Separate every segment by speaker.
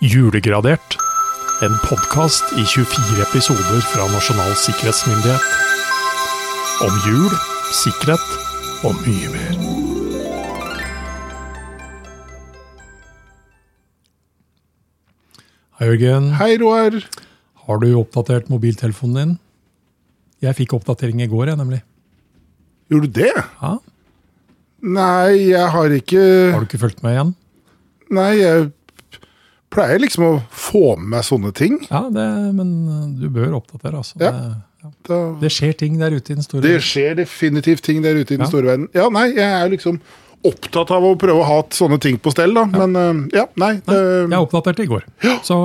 Speaker 1: Julegradert. En podkast i 24 episoder fra Nasjonal sikkerhetsmyndighet. Om jul, sikkerhet og mye mer. Hei, Jørgen.
Speaker 2: Hei, Roar.
Speaker 1: Har du oppdatert mobiltelefonen din? Jeg fikk oppdatering i går, jeg, nemlig.
Speaker 2: Gjorde du det?
Speaker 1: Ja,
Speaker 2: Nei, jeg har ikke
Speaker 1: har du ikke fulgt med igjen?
Speaker 2: Nei, jeg pleier liksom å få med meg sånne ting.
Speaker 1: Ja, det, men eh, du bør oppdatere, altså.
Speaker 2: Ja.
Speaker 1: Det, ja.
Speaker 2: Da,
Speaker 1: det skjer ting der ute i den store
Speaker 2: det skjer definitivt ting der ute i den
Speaker 1: Ja.
Speaker 2: store verden. Ja, nei, jeg er liksom opptatt av å prøve å ha sånne ting på stell, da. Men eh, ja, nei. eh,
Speaker 1: Jeg oppdaterte i går. Så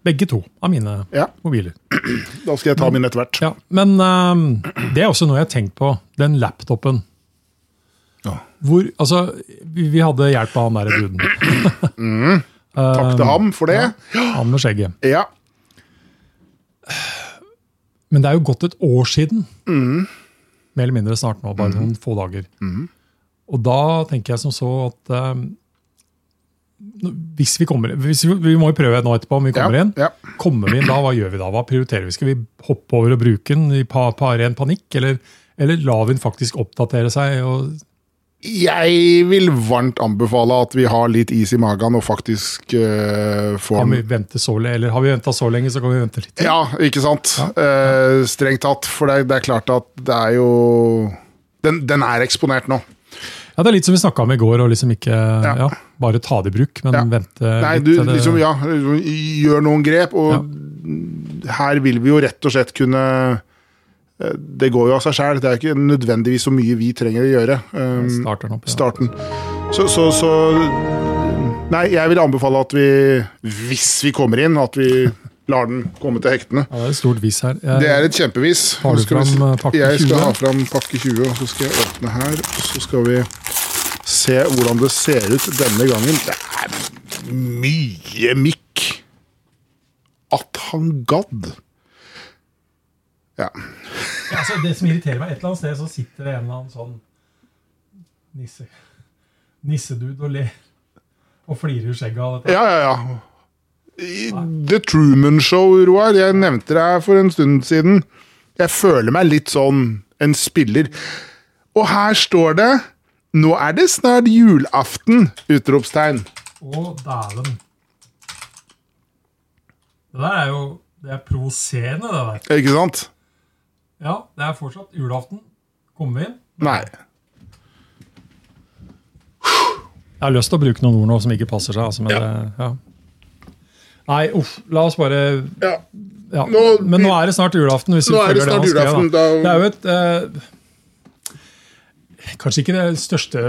Speaker 1: begge to av mine
Speaker 2: ja,
Speaker 1: mobiler.
Speaker 2: da skal jeg ta min etter hvert.
Speaker 1: Ja, men ehm, det er også noe jeg har tenkt på. Den laptopen.
Speaker 2: Ja.
Speaker 1: Hvor, altså, vi, vi hadde hjelp av han derre duden.
Speaker 2: Takk til ham for det.
Speaker 1: Han med skjegget.
Speaker 2: Ja.
Speaker 1: Men det er jo gått et år siden. Mer eller mindre snart nå, bare noen få dager. Og da tenker jeg som så at ehm, hvis vi kommer hvis vi, vi må jo prøve nå etterpå om vi
Speaker 2: Ja.
Speaker 1: kommer inn.
Speaker 2: ja.
Speaker 1: Kommer vi inn da, hva gjør vi da? Hva prioriterer vi? Skal vi hoppe over og bruke den i pa, pa, ren panikk, eller, eller lar vi den faktisk oppdatere seg? Og,
Speaker 2: Jeg vil varmt anbefale at vi har litt is i magen og faktisk eh, får
Speaker 1: kan vi vente så lenge, eller har vi venta så lenge, så kan vi vente litt.
Speaker 2: Ja, ikke sant? Eh, strengt tatt, for det, det er klart at det er jo Den, den er eksponert nå.
Speaker 1: Ja, Det er litt som vi snakka om i går, og liksom ikke ja.
Speaker 2: Ja.
Speaker 1: bare ta det i bruk, men
Speaker 2: Ja.
Speaker 1: vente
Speaker 2: Nei,
Speaker 1: litt.
Speaker 2: du
Speaker 1: eller-
Speaker 2: liksom, ja, liksom, gjør noen grep, og her vil vi jo rett og slett kunne eh, Det går jo av seg sjæl, det er ikke nødvendigvis så mye vi trenger å gjøre. eh,
Speaker 1: Starter den opp, ja.
Speaker 2: starten. Så, så, så Nei, jeg vil anbefale at vi, hvis vi kommer inn, at vi lar den komme til hektene.
Speaker 1: ja, det er et stort vis her. Jeg,
Speaker 2: Det er et kjempevis.
Speaker 1: Har du
Speaker 2: Nå skal vi-
Speaker 1: fram, eh, pakke
Speaker 2: Jeg
Speaker 1: 20?
Speaker 2: skal ha fram pakke 20, og så skal jeg åpne her. Og så skal vi se hvordan det ser ut denne gangen. Det er mye mikk. At han gadd. Ja.
Speaker 1: altså, det som irriterer meg, et eller annet sted så sitter det en eller annen sånn nisse, nissedud og ler og flirer i skjegget av dette.
Speaker 2: Ja, ja, ja. I The Truman Show, Roar. Jeg nevnte det her for en stund siden. Jeg føler meg litt sånn en spiller. Og her står det Nå er det snart julaften! Utropstegn.
Speaker 1: Å, dæven. Det der er jo Det er provoserende, det der.
Speaker 2: Ikke sant?
Speaker 1: Ja, det er fortsatt julaften. Kommer vi inn?
Speaker 2: Nei.
Speaker 1: Jeg har lyst til å bruke noen ord nå som ikke passer seg. Altså, men
Speaker 2: Ja.
Speaker 1: Det, ja. Nei, uff. La oss bare
Speaker 2: Ja.
Speaker 1: ja.
Speaker 2: Nå-
Speaker 1: Men nå er det snart julaften. Hvis vi
Speaker 2: Nå er det
Speaker 1: følger
Speaker 2: snart
Speaker 1: han skrev,
Speaker 2: julaften, da-
Speaker 1: Det er jo et eh, Kanskje ikke det største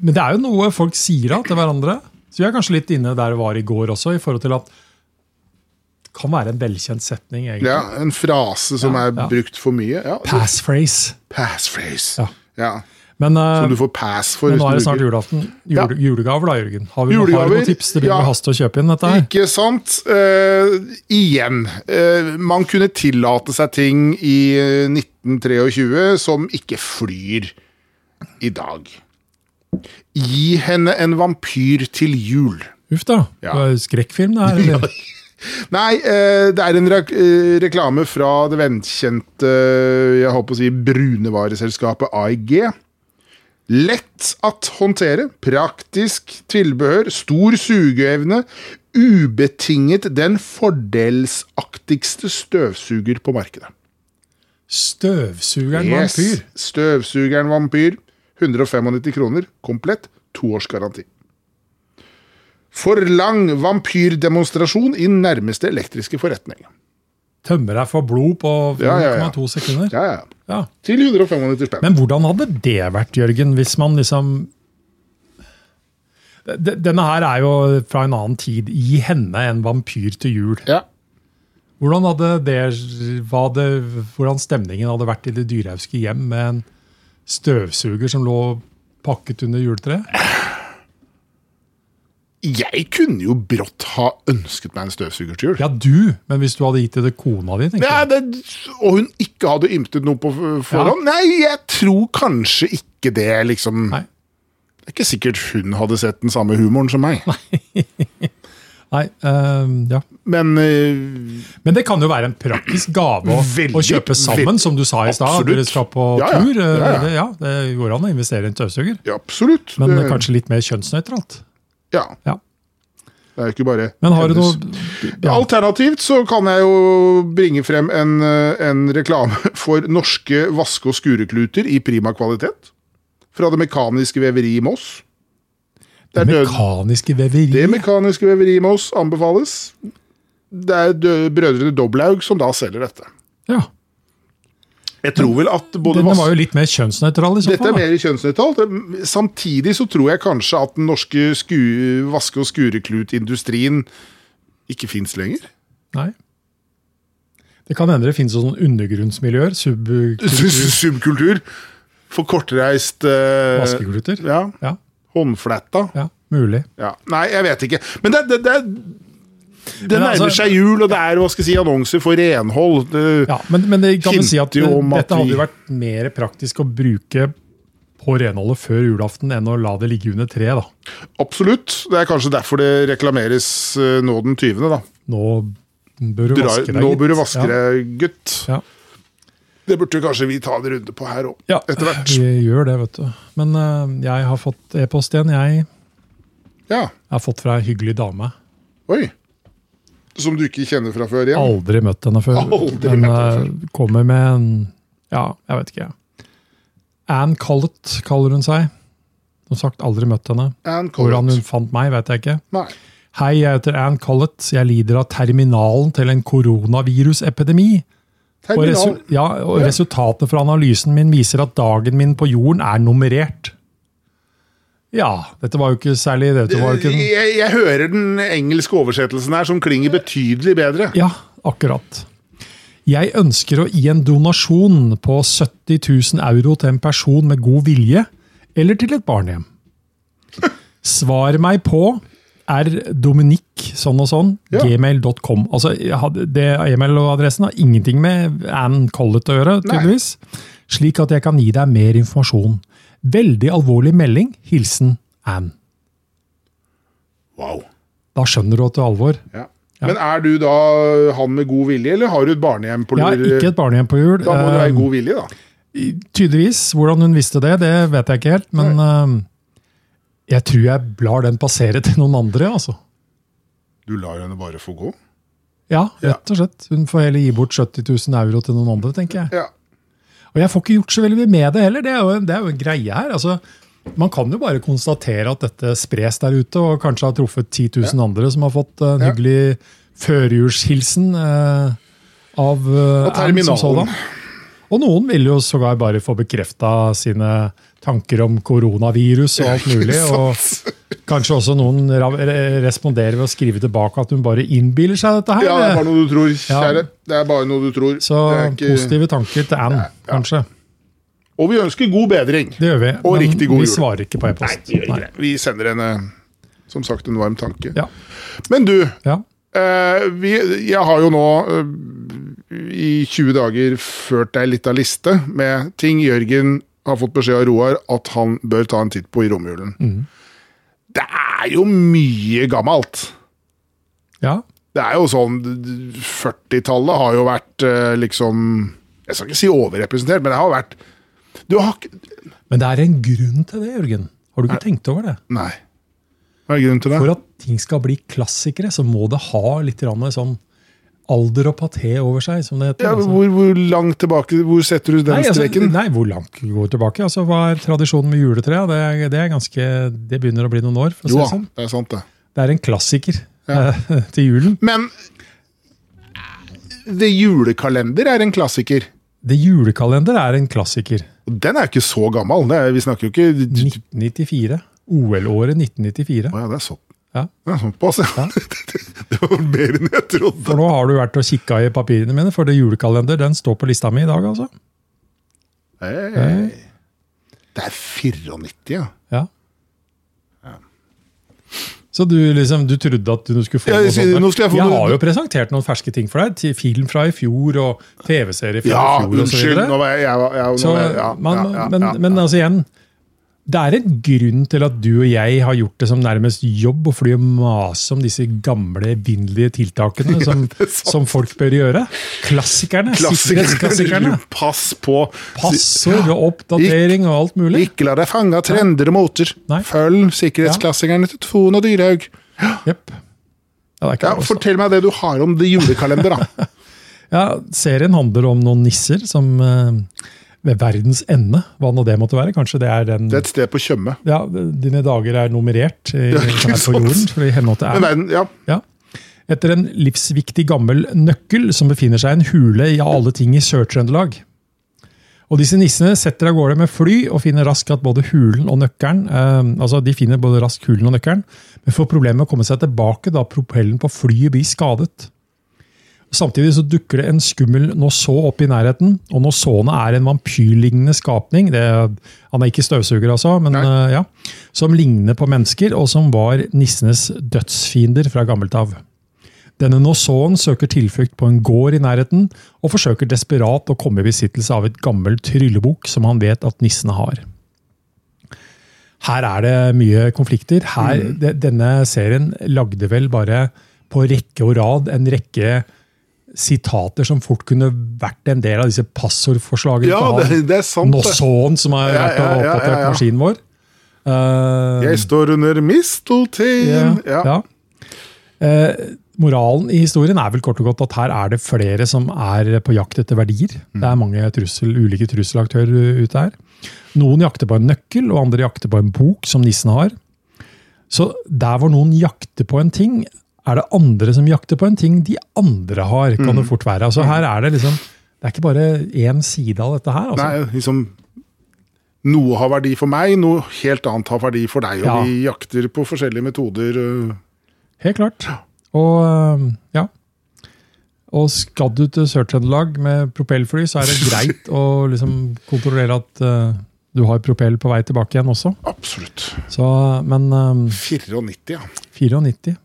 Speaker 1: Men det er jo noe folk sier da til hverandre. Så vi er kanskje litt inne der vi var i går også, i forhold til at det kan være en velkjent setning. egentlig.
Speaker 2: ja en frase som
Speaker 1: Ja,
Speaker 2: er
Speaker 1: ja.
Speaker 2: brukt for mye. Ja.
Speaker 1: Passphrase.
Speaker 2: Passphrase.
Speaker 1: Ja.
Speaker 2: Ja.
Speaker 1: Men, eh,
Speaker 2: Som du får pass for.
Speaker 1: men nå
Speaker 2: hvis
Speaker 1: er det
Speaker 2: du
Speaker 1: snart
Speaker 2: bruker-
Speaker 1: julaften. Jule, Julegaver, da, Jørgen. Har vi, har vi
Speaker 2: Julegaver,
Speaker 1: noen tips? Det begynner
Speaker 2: ja.
Speaker 1: å haste å kjøpe inn dette her.
Speaker 2: Ikke sant? Eh, igjen. eh, man kunne tillate seg ting i eh, 1923 som ikke flyr i dag. Gi henne en vampyr til jul.
Speaker 1: Uff da.
Speaker 2: Ja.
Speaker 1: Det er jo skrekkfilm, det her. eller?
Speaker 2: Nei, eh, det er en re eh, reklame fra det velkjente eh, jeg håper å si, brunevareselskapet AIG. Lett at håndtere, praktisk tilbehør, stor sugeevne, ubetinget den fordelsaktigste støvsuger på markedet.
Speaker 1: Støvsugeren
Speaker 2: Yes,
Speaker 1: vampyr.
Speaker 2: Støvsugeren vampyr. 195 kroner, komplett, toårsgaranti. Forlang vampyrdemonstrasjon i nærmeste elektriske forretning.
Speaker 1: Tømmer deg for blod på 4,2
Speaker 2: Ja, ja, ja.
Speaker 1: sekunder.
Speaker 2: Ja, ja.
Speaker 1: Ja.
Speaker 2: Til 195 spenn.
Speaker 1: Men hvordan hadde det vært, Jørgen, hvis man liksom D- Denne her er jo fra en annen tid. Gi henne en vampyr til jul.
Speaker 2: ja.
Speaker 1: Hvordan hadde det, hva det, hvordan stemningen hadde vært i det dyrehauske hjem med en støvsuger som lå pakket under juletreet?
Speaker 2: Jeg kunne jo brått ha ønsket meg en støvsuger til jul.
Speaker 1: Ja, du, men hvis du hadde gitt det til kona di, tenker
Speaker 2: Ja,
Speaker 1: jeg.
Speaker 2: det, og hun ikke hadde ymtet noe på f- forhånd? Nei, jeg tror kanskje ikke det, liksom.
Speaker 1: Nei.
Speaker 2: Det er ikke sikkert hun hadde sett den samme humoren som meg.
Speaker 1: Nei, eh, ja.
Speaker 2: Men eh,
Speaker 1: Men det kan jo være en praktisk gave å,
Speaker 2: Veldig,
Speaker 1: å kjøpe sammen,
Speaker 2: veldig.
Speaker 1: som du sa i stad. at
Speaker 2: Absolutt.
Speaker 1: Dere skal på
Speaker 2: Ja, ja.
Speaker 1: tur. eh,
Speaker 2: Ja, ja.
Speaker 1: Det, ja, det går an å investere i en støvsuger.
Speaker 2: ja, absolutt.
Speaker 1: Men
Speaker 2: det,
Speaker 1: kanskje litt mer kjønnsnøytralt.
Speaker 2: Ja.
Speaker 1: Ja.
Speaker 2: Det er jo ikke bare
Speaker 1: Men har du
Speaker 2: hennes.
Speaker 1: noe ja.
Speaker 2: Alternativt så kan jeg jo bringe frem en, eh, en reklame for norske vaske- og skurekluter i prima kvalitet. Fra det mekaniske veveriet i Moss. Det er død-
Speaker 1: Mekaniske veverier.
Speaker 2: Det mekaniske veveriet i Moss anbefales. Det er dø brødrene Doblaug som da selger dette.
Speaker 1: Ja.
Speaker 2: Jeg tror vel at både
Speaker 1: Denne
Speaker 2: vas-
Speaker 1: var jo litt mer kjønnsnøytral. i så
Speaker 2: Dette er
Speaker 1: fall. da.
Speaker 2: mer kjønnsnøytralt. Samtidig så tror jeg kanskje at den norske sku vaske- og skureklutindustrien ikke fins lenger.
Speaker 1: Nei. Det kan hende det finnes sånne undergrunnsmiljøer. Subkultur.
Speaker 2: Subkultur. For kortreist eh,
Speaker 1: Vaskekultur.
Speaker 2: Ja.
Speaker 1: Ja,
Speaker 2: Håndfletta.
Speaker 1: ja, mulig.
Speaker 2: Ja. Nei, jeg vet ikke. Men det, det, det, det
Speaker 1: Men altså-
Speaker 2: nærmer seg jul, og det er hva skal jeg si, annonser for renhold. Det-
Speaker 1: Ja, men, men det kan vel si at eh,
Speaker 2: Hinter jo om at
Speaker 1: dette hadde
Speaker 2: vi-
Speaker 1: jo vært mer praktisk å bruke på renholdet før julaften enn å la det ligge under treet. da.
Speaker 2: Absolutt. Det er kanskje derfor det reklameres eh, nå den 20., da.
Speaker 1: Nå bør du
Speaker 2: Dra,
Speaker 1: vaske deg.
Speaker 2: nå
Speaker 1: litt.
Speaker 2: bør du vaske deg, gutt.
Speaker 1: Ja.
Speaker 2: Det burde kanskje vi ta en runde på her òg,
Speaker 1: Ja,
Speaker 2: etter hvert.
Speaker 1: vi gjør det, vet du. Men eh, jeg har fått e-post igjen. Jeg
Speaker 2: Ja.
Speaker 1: har fått fra ei hyggelig dame.
Speaker 2: Oi. Som du ikke kjenner fra før igjen?
Speaker 1: Aldri møtt henne før.
Speaker 2: Aldri
Speaker 1: men
Speaker 2: møtt henne
Speaker 1: eh, kommer med en Ja, jeg vet ikke. jeg. Ann Collett kaller hun seg. Som sagt, aldri møtt henne.
Speaker 2: Ann
Speaker 1: Hvordan hun
Speaker 2: Collett.
Speaker 1: fant meg, vet jeg ikke.
Speaker 2: Nei.
Speaker 1: Hei, jeg heter Ann Collett. Jeg lider av terminalen til en koronavirusepidemi. Og, resu
Speaker 2: Terminal.
Speaker 1: ja, og
Speaker 2: Ja.
Speaker 1: resultatene fra analysen min viser at dagen min på jorden er nummerert. Ja, dette var jo ikke særlig dette var jo ikke en,
Speaker 2: Jeg, jeg hører den engelske oversettelsen her, som klinger betydelig bedre.
Speaker 1: Ja, akkurat. Jeg ønsker å gi en donasjon på 70 000 euro til en person med god vilje, eller til et barnehjem. Svar meg på rdominikk sånn og sånn,
Speaker 2: Ja.
Speaker 1: gmail.com. Altså, jeg hadde- det E-mailadressen har ingenting med Ann Collett å gjøre,
Speaker 2: Nei.
Speaker 1: tydeligvis. Slik at jeg kan gi deg mer informasjon. Veldig alvorlig melding. Hilsen Ann.
Speaker 2: Wow.
Speaker 1: Da skjønner du at det er alvor.
Speaker 2: Ja. Men er du da han med god vilje, eller har du et barnehjem på
Speaker 1: Jeg har
Speaker 2: lur?
Speaker 1: ikke et barnehjem på hjul.
Speaker 2: Da må du
Speaker 1: Eh,
Speaker 2: ha god vilje, da.
Speaker 1: Tydeligvis. Hvordan hun visste det, det vet jeg ikke helt. Men øhm, jeg tror jeg lar den passere til noen andre, altså.
Speaker 2: Du lar henne bare få gå?
Speaker 1: Ja, rett og slett. Hun får heller gi bort 70 000 euro til noen andre, tenker jeg.
Speaker 2: Ja.
Speaker 1: Og jeg får ikke gjort så veldig mye med det heller. Det er jo, det er jo en greie her. altså. Man kan jo bare konstatere at dette spres der ute, og kanskje har truffet 10 000 andre som har fått eh, en
Speaker 2: Ja.
Speaker 1: hyggelig førjulshilsen eh, av eh,
Speaker 2: Og
Speaker 1: Ann som
Speaker 2: terminalen.
Speaker 1: sådan. Og noen vil jo sågar bare få bekrefta sine tanker om koronavirus og alt mulig. Og kanskje også noen ra- re- responderer ved å skrive tilbake at hun bare innbiller seg dette her.
Speaker 2: Ja, det er bare noe du tror,
Speaker 1: Ja.
Speaker 2: kjære. Det er bare noe du tror.
Speaker 1: Så
Speaker 2: Det er ikke-
Speaker 1: positive tanker til Ann, kanskje.
Speaker 2: Og vi ønsker god bedring.
Speaker 1: Det gjør vi.
Speaker 2: Og riktig god
Speaker 1: vi
Speaker 2: jul.
Speaker 1: svarer ikke på e-post. Nei.
Speaker 2: Vi sender henne, som sagt, en varm tanke.
Speaker 1: Ja.
Speaker 2: Men du,
Speaker 1: Ja.
Speaker 2: eh, vi, jeg har jo nå eh, i 20 dager ført deg litt av liste med ting Jørgen har fått beskjed av Roar at han bør ta en titt på i romjulen.
Speaker 1: Mhm.
Speaker 2: Det er jo mye gammelt.
Speaker 1: ja.
Speaker 2: Det er jo sånn 40-tallet har jo vært eh, liksom Jeg skal ikke si overrepresentert, men det har vært Du har ikke
Speaker 1: Men det er en grunn til det, Jørgen. Har du ikke tenkt over det?
Speaker 2: Nei. Hva er grunnen til det?
Speaker 1: For at ting skal bli klassikere, så må det ha litt grann sånn alder og paté over seg, som det heter.
Speaker 2: ja,
Speaker 1: altså.
Speaker 2: hvor, hvor langt tilbake Hvor setter du den
Speaker 1: Nei, altså,
Speaker 2: streken?
Speaker 1: nei, hvor langt går tilbake? Altså, hva er tradisjonen med juletre? Det, er- det, er ganske- det begynner å bli noen år. For å si
Speaker 2: jo
Speaker 1: det,
Speaker 2: da,
Speaker 1: sånn.
Speaker 2: det er sant, det.
Speaker 1: det er en klassiker eh, til julen.
Speaker 2: Men eh, The Julekalender er en klassiker.
Speaker 1: Det julekalender er en klassiker.
Speaker 2: Og Den er jo ikke så gammel. Det er, vi snakker jo ikke d- d-
Speaker 1: 1994. OL-året 1994.
Speaker 2: Å ja, det er sånn.
Speaker 1: Ja.
Speaker 2: Det er såpass, ja. det var mer enn jeg trodde.
Speaker 1: For nå har du vært og kikka i papirene mine, for det julekalender den står på lista mi i dag, altså.
Speaker 2: Hei. Det er 94, ja.
Speaker 1: Ja. Så du liksom, du trodde at du skulle få
Speaker 2: Ja,
Speaker 1: noe
Speaker 2: jeg sier,
Speaker 1: sånt?
Speaker 2: nå skal jeg få noe-
Speaker 1: har jo presentert noen ferske ting for deg. til Film fra i fjor og TV-serie fra
Speaker 2: Ja,
Speaker 1: i fjor. og så
Speaker 2: unnskyld.
Speaker 1: videre.
Speaker 2: Nå var jeg, jeg, var- jeg, nå
Speaker 1: Så,
Speaker 2: var jeg ja,
Speaker 1: man,
Speaker 2: ja, ja,
Speaker 1: men,
Speaker 2: ja,
Speaker 1: men
Speaker 2: ja.
Speaker 1: altså igjen det er en grunn til at du og jeg har gjort det som nærmest jobb å fly og mase om disse gamle, evinnelige tiltakene som, som folk bør gjøre. Klassikerne. Sikkerhetsklassikerne.
Speaker 2: Pass på.
Speaker 1: Passord og oppdatering og alt mulig.
Speaker 2: Ikke la deg fange av trender og moter.
Speaker 1: Nei.
Speaker 2: Følg sikkerhetsklassikerne til Tone og Dyrhaug.
Speaker 1: Jepp. Ja, det er ikke
Speaker 2: Ja,
Speaker 1: det også.
Speaker 2: fortell meg det du har om det julekalender, da.
Speaker 1: ja, serien handler om noen nisser som eh, ved verdens ende, hva nå det måtte være. Kanskje det er den
Speaker 2: Det er et sted på Tjøme.
Speaker 1: ja, Dine dager er nummerert i,
Speaker 2: Ja, ikke
Speaker 1: her på
Speaker 2: sant?
Speaker 1: jorden. fordi i henhold til
Speaker 2: Men
Speaker 1: æren.
Speaker 2: verden, ja.
Speaker 1: Ja. Etter en livsviktig gammel nøkkel som befinner seg i en hule i alle ting i Sør-Trøndelag. Og disse nissene setter av gårde med fly og finner raskt at både hulen og nøkkelen eh, altså de finner både raskt hulen og nøkkelen, men får problemer med å komme seg tilbake da propellen på flyet blir skadet. Samtidig så dukker det en skummel Nosså opp i nærheten. og Nossåene er en vampyrlignende skapning. Det, han er ikke støvsuger, altså, men
Speaker 2: Nei.
Speaker 1: eh, ja. Som ligner på mennesker, og som var nissenes dødsfiender fra gammelt av. Denne Nossåen søker tilflukt på en gård i nærheten, og forsøker desperat å komme i besittelse av et gammelt tryllebukk som han vet at nissene har. Her er det mye konflikter. Her,
Speaker 2: Mm.
Speaker 1: de- Denne serien lagde vel bare på rekke og rad en rekke sitater som fort kunne vært en del av disse passordforslagene.
Speaker 2: ja
Speaker 1: til
Speaker 2: det,
Speaker 1: han
Speaker 2: det er sant. det.
Speaker 1: Nossåen som har
Speaker 2: Ja,
Speaker 1: vært og
Speaker 2: ja, ja,
Speaker 1: oppdatert
Speaker 2: ja, ja.
Speaker 1: maskinen vår. Eh,
Speaker 2: Jeg står under misteltein.
Speaker 1: ja.
Speaker 2: Ja.
Speaker 1: Eh, moralen i historien er vel kort og godt at her er det flere som er på jakt etter verdier. Det er mange trussel, ulike trusselaktører ute her. Noen jakter på en nøkkel, og andre jakter på en bok som nissen har. Så der hvor noen jakter på en ting, er det andre som jakter på en ting de andre har. kan det fort være. Altså her er Det liksom, det er ikke bare én side av dette her. altså.
Speaker 2: Nei, liksom Noe har verdi for meg, noe helt annet har verdi for deg. Og
Speaker 1: Ja.
Speaker 2: vi jakter på forskjellige metoder. øh.
Speaker 1: Helt klart. Og øhm, ja. Og skal du til Sør-Trøndelag med propellfly, så er det greit å liksom kontrollere at øh, du har propell på vei tilbake igjen også.
Speaker 2: Absolutt.
Speaker 1: Så, men øhm,
Speaker 2: 94, ja.
Speaker 1: 94.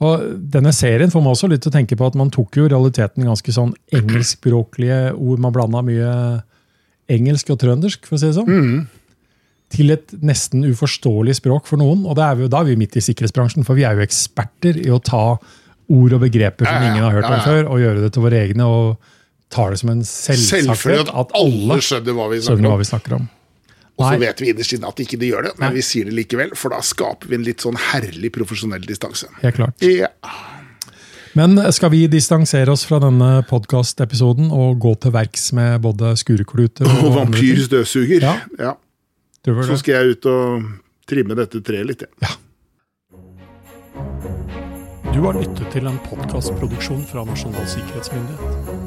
Speaker 1: Og denne serien får meg også litt til å tenke på at man tok jo i realiteten ganske sånn engelskspråklige ord. Man blanda mye engelsk og trøndersk, for å si det sånn.
Speaker 2: Mm.
Speaker 1: Til et nesten uforståelig språk for noen. Og det er vi, jo- da er vi midt i sikkerhetsbransjen, for vi er jo eksperter i å ta ord og begreper som
Speaker 2: Ja, ja,
Speaker 1: ingen har hørt
Speaker 2: ja,
Speaker 1: om
Speaker 2: ja.
Speaker 1: før, og gjøre det til våre egne. og tar det som en
Speaker 2: Selvfølgelig
Speaker 1: selvfølge
Speaker 2: at alle skjønner hva vi snakker
Speaker 1: skjønner hva
Speaker 2: om.
Speaker 1: vi snakker om.
Speaker 2: Og så
Speaker 1: Nei.
Speaker 2: vet vi innerst inne at ikke de gjør det, men vi sier det likevel, for da skaper vi en litt sånn herlig profesjonell distanse.
Speaker 1: Helt klart.
Speaker 2: Ja.
Speaker 1: Men skal vi distansere oss fra denne podkastepisoden og gå til verks med både skurekluter
Speaker 2: Og
Speaker 1: andre ting?
Speaker 2: vampyrs dødsuger.
Speaker 1: Ja.
Speaker 2: Ja.
Speaker 1: Tror du
Speaker 2: Så
Speaker 1: det?
Speaker 2: skal jeg ut og trimme dette treet litt, jeg.
Speaker 1: Du har lyttet til en podkastproduksjon fra Nasjonal sikkerhetsmyndighet.